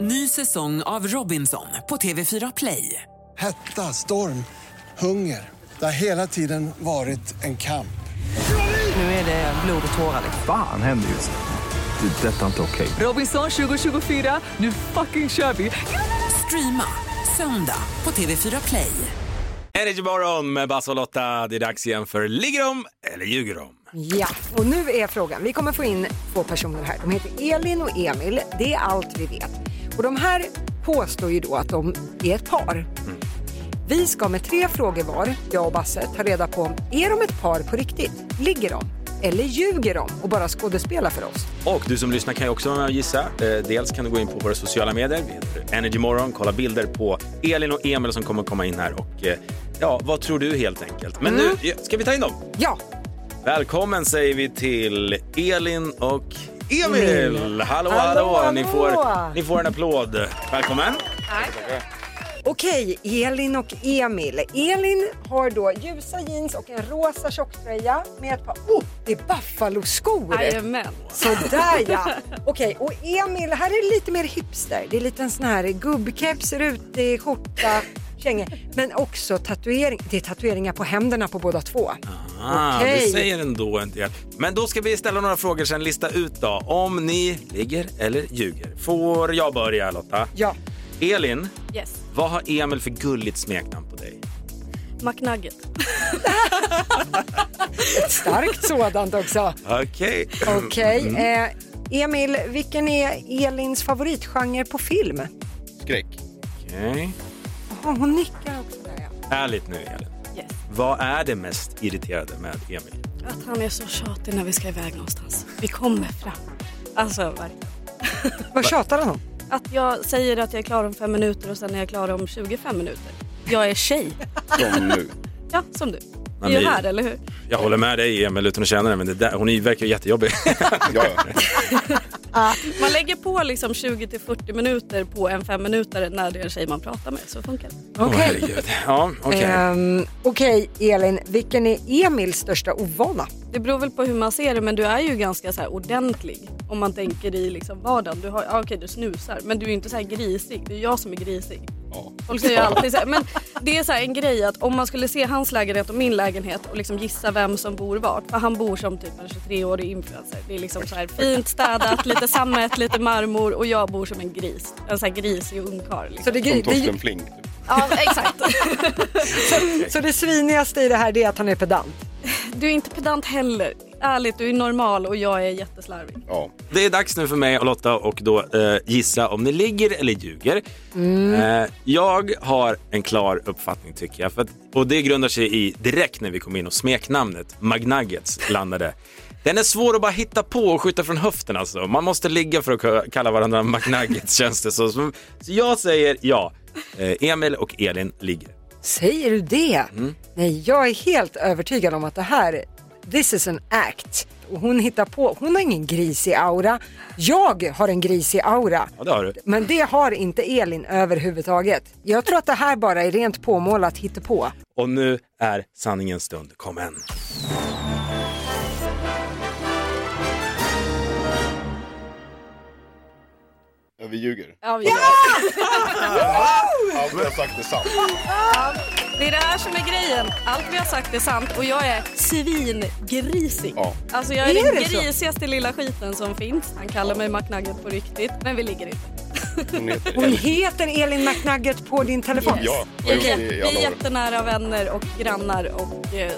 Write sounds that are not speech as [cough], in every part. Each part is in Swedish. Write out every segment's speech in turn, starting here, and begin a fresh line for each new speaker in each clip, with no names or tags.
Ny säsong av Robinson på TV4 Play.
Hetta, storm, hunger. Det har hela tiden varit en kamp.
Nu är det blod och tårar. liksom.
Fan händer just nu. Det. är Detta är inte okej.
Robinson 2024, nu fucking kör vi! Streama söndag på TV4 Play.
Energy Morgon med Basse och Lotta. Det är dags igen för Ligger de eller ljuger de?
Ja, och nu är frågan. Vi kommer få in två personer här. De heter Elin och Emil. Det är allt vi vet. Och de här påstår ju då att de är ett par. Vi ska med tre frågor var, jag och Basse, ta reda på om är de ett par på riktigt? Ligger de? Eller ljuger de och bara skådespelar för oss?
Och du som lyssnar kan ju också vara med och gissa. Eh, Dels kan du gå in på våra sociala medier. Vi heter Energy Morgon. Kolla bilder på Elin och Emil som kommer komma in här. Och eh, ja, vad tror du helt enkelt? Men nu ja, ska vi ta in dem.
Ja,
Välkommen säger vi till Elin och Emil. Hallå, hallå.
Hallå,
Ni,
hallå.
får, ni får en applåd. Välkommen.
Okej, Elin och Emil. Elin har då ljusa jeans och en rosa tjocktröja med ett par... Oh, det är Buffalo-skor!
Jajamän.
Sådär ja! Okej, och Emil, här är det lite mer hipster. Det är lite en sån här gubbkeps, rutig skjorta, kängor. Men också tatuering. Det är tatueringar på händerna på båda två.
Ah,
Okej.
Du säger ändå en del. Men då ska vi ställa några frågor sen lista ut då om ni ligger eller ljuger. Får jag börja Lotta?
Ja,
Elin,
Yes.
vad har Emil för gulligt smeknamn på dig?
McNugget.
ett starkt sådant också.
Okej.
Okej, eh, Emil, vilken är Elins favoritgenre på film?
Skräck.
Okej.
Jaha, hon nickar också där ja.
Ärligt nu Elin,
Yes.
vad är det mest irriterande med Emil?
Att han är så tjatig när vi ska iväg någonstans. Vi kommer fram. Alltså verkligen.
Vad tjatar han om?
Att jag säger att jag är klar om fem minuter och sen är jag klar om 25 minuter. Jag är tjej.
[laughs] Som nu.
Ja, som du.
men
Vi är ju
det-
här, eller hur?
Jag håller med dig Emil utan att känna det, men det där, hon är ju- verkar ju jättejobbig. [laughs]
Ja, ja.
Man lägger på liksom 20 till 40 minuter på en fem minuter när det är en tjej man pratar med. Så funkar det.
Åh, herregud. ja, okej.
Ehm, Okej, Elin, vilken är Emils största ovana?
Det beror väl på hur man ser det men du är ju ganska så här ordentlig om man tänker i liksom vardagen. Du har, ja, okej du snusar men du är ju inte så här grisig. Det är jag som är grisig.
Ja.
Folk säger ju alltid så här, men det är så här en grej att om man skulle se hans lägenhet och min lägenhet och liksom gissa vem som bor vart. För han bor som typ en 23-årig influencer. Det är liksom så här fint städat, lite sammet, lite marmor och jag bor som en gris. En så här grisig ungkarl.
Så
Liksom.
det,
Som
det,
Torsten Flink. typ.
Ja exakt.
så det svinigaste i det här det är att han är pedant?
Du är inte pedant heller. Ärligt du är normal och jag är jätteslarvig.
Ja.
Det är dags nu för mig och Lotta och då eh, gissa om ni ligger eller ljuger. Eh, jag har en klar uppfattning tycker jag. För att, och det grundar sig i direkt när vi kom in och smeknamnet Magnuggets landade. Den är svår att bara hitta på och skjuta från höften alltså. Man måste ligga för att k- kalla varandra Magnuggets [laughs] känns det så. Så så jag säger ja. Eh, Emil och Elin ligger.
Säger du det? Nej, jag är helt övertygad om att det här, this is an act. Och hon hittar på, hon har ingen grisig aura. Jag har en grisig aura.
Ja det har du.
Men det har inte Elin överhuvudtaget. Jag tror att det här bara är rent påmålat hittepå.
Och nu är sanningens stund kommen.
Ja, vi ljuger.
Ja, vi gör det.
Allt jag har sagt är sant.
Det är det här som är grejen. Allt vi har sagt är sant och jag är svingrisig.
Ja.
Alltså jag är,
Är det
den
så?
grisigaste lilla skiten som finns. Han kallar mig McNugget på riktigt, men vi ligger inte.
Hon heter
Hon
Elin.
heter Elin McNugget på din telefon.
Ja, jag har gjort
Vi är,
det i
vi är
alla år.
jättenära vänner och grannar och eh,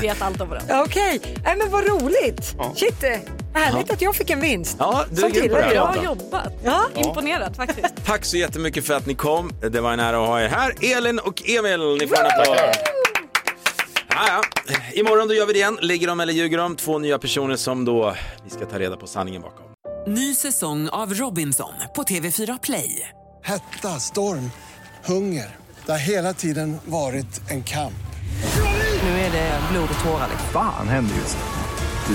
vet allt om varandra.
Okej, Nej, men vad roligt.
Ja.
Shit, eh, härligt att jag fick en vinst.
Ja, du är
Som
grym på det här,
tillhör
Lotta.
Bra jobbat!
Ja.
Imponerad faktiskt.
Tack så jättemycket för att ni kom. Det var en ära att ha er här. Elin och Emil, ni får en applåd. Ja, ja. Imorgon då gör vi det igen. Ligger de eller ljuger de? Två nya personer som då vi ska ta reda på sanningen bakom.
Ny säsong av Robinson på TV4 Play.
Hetta, storm, hunger. Det har hela tiden varit en kamp.
Nu är det blod och tårar. liksom.
Fan händer just nu.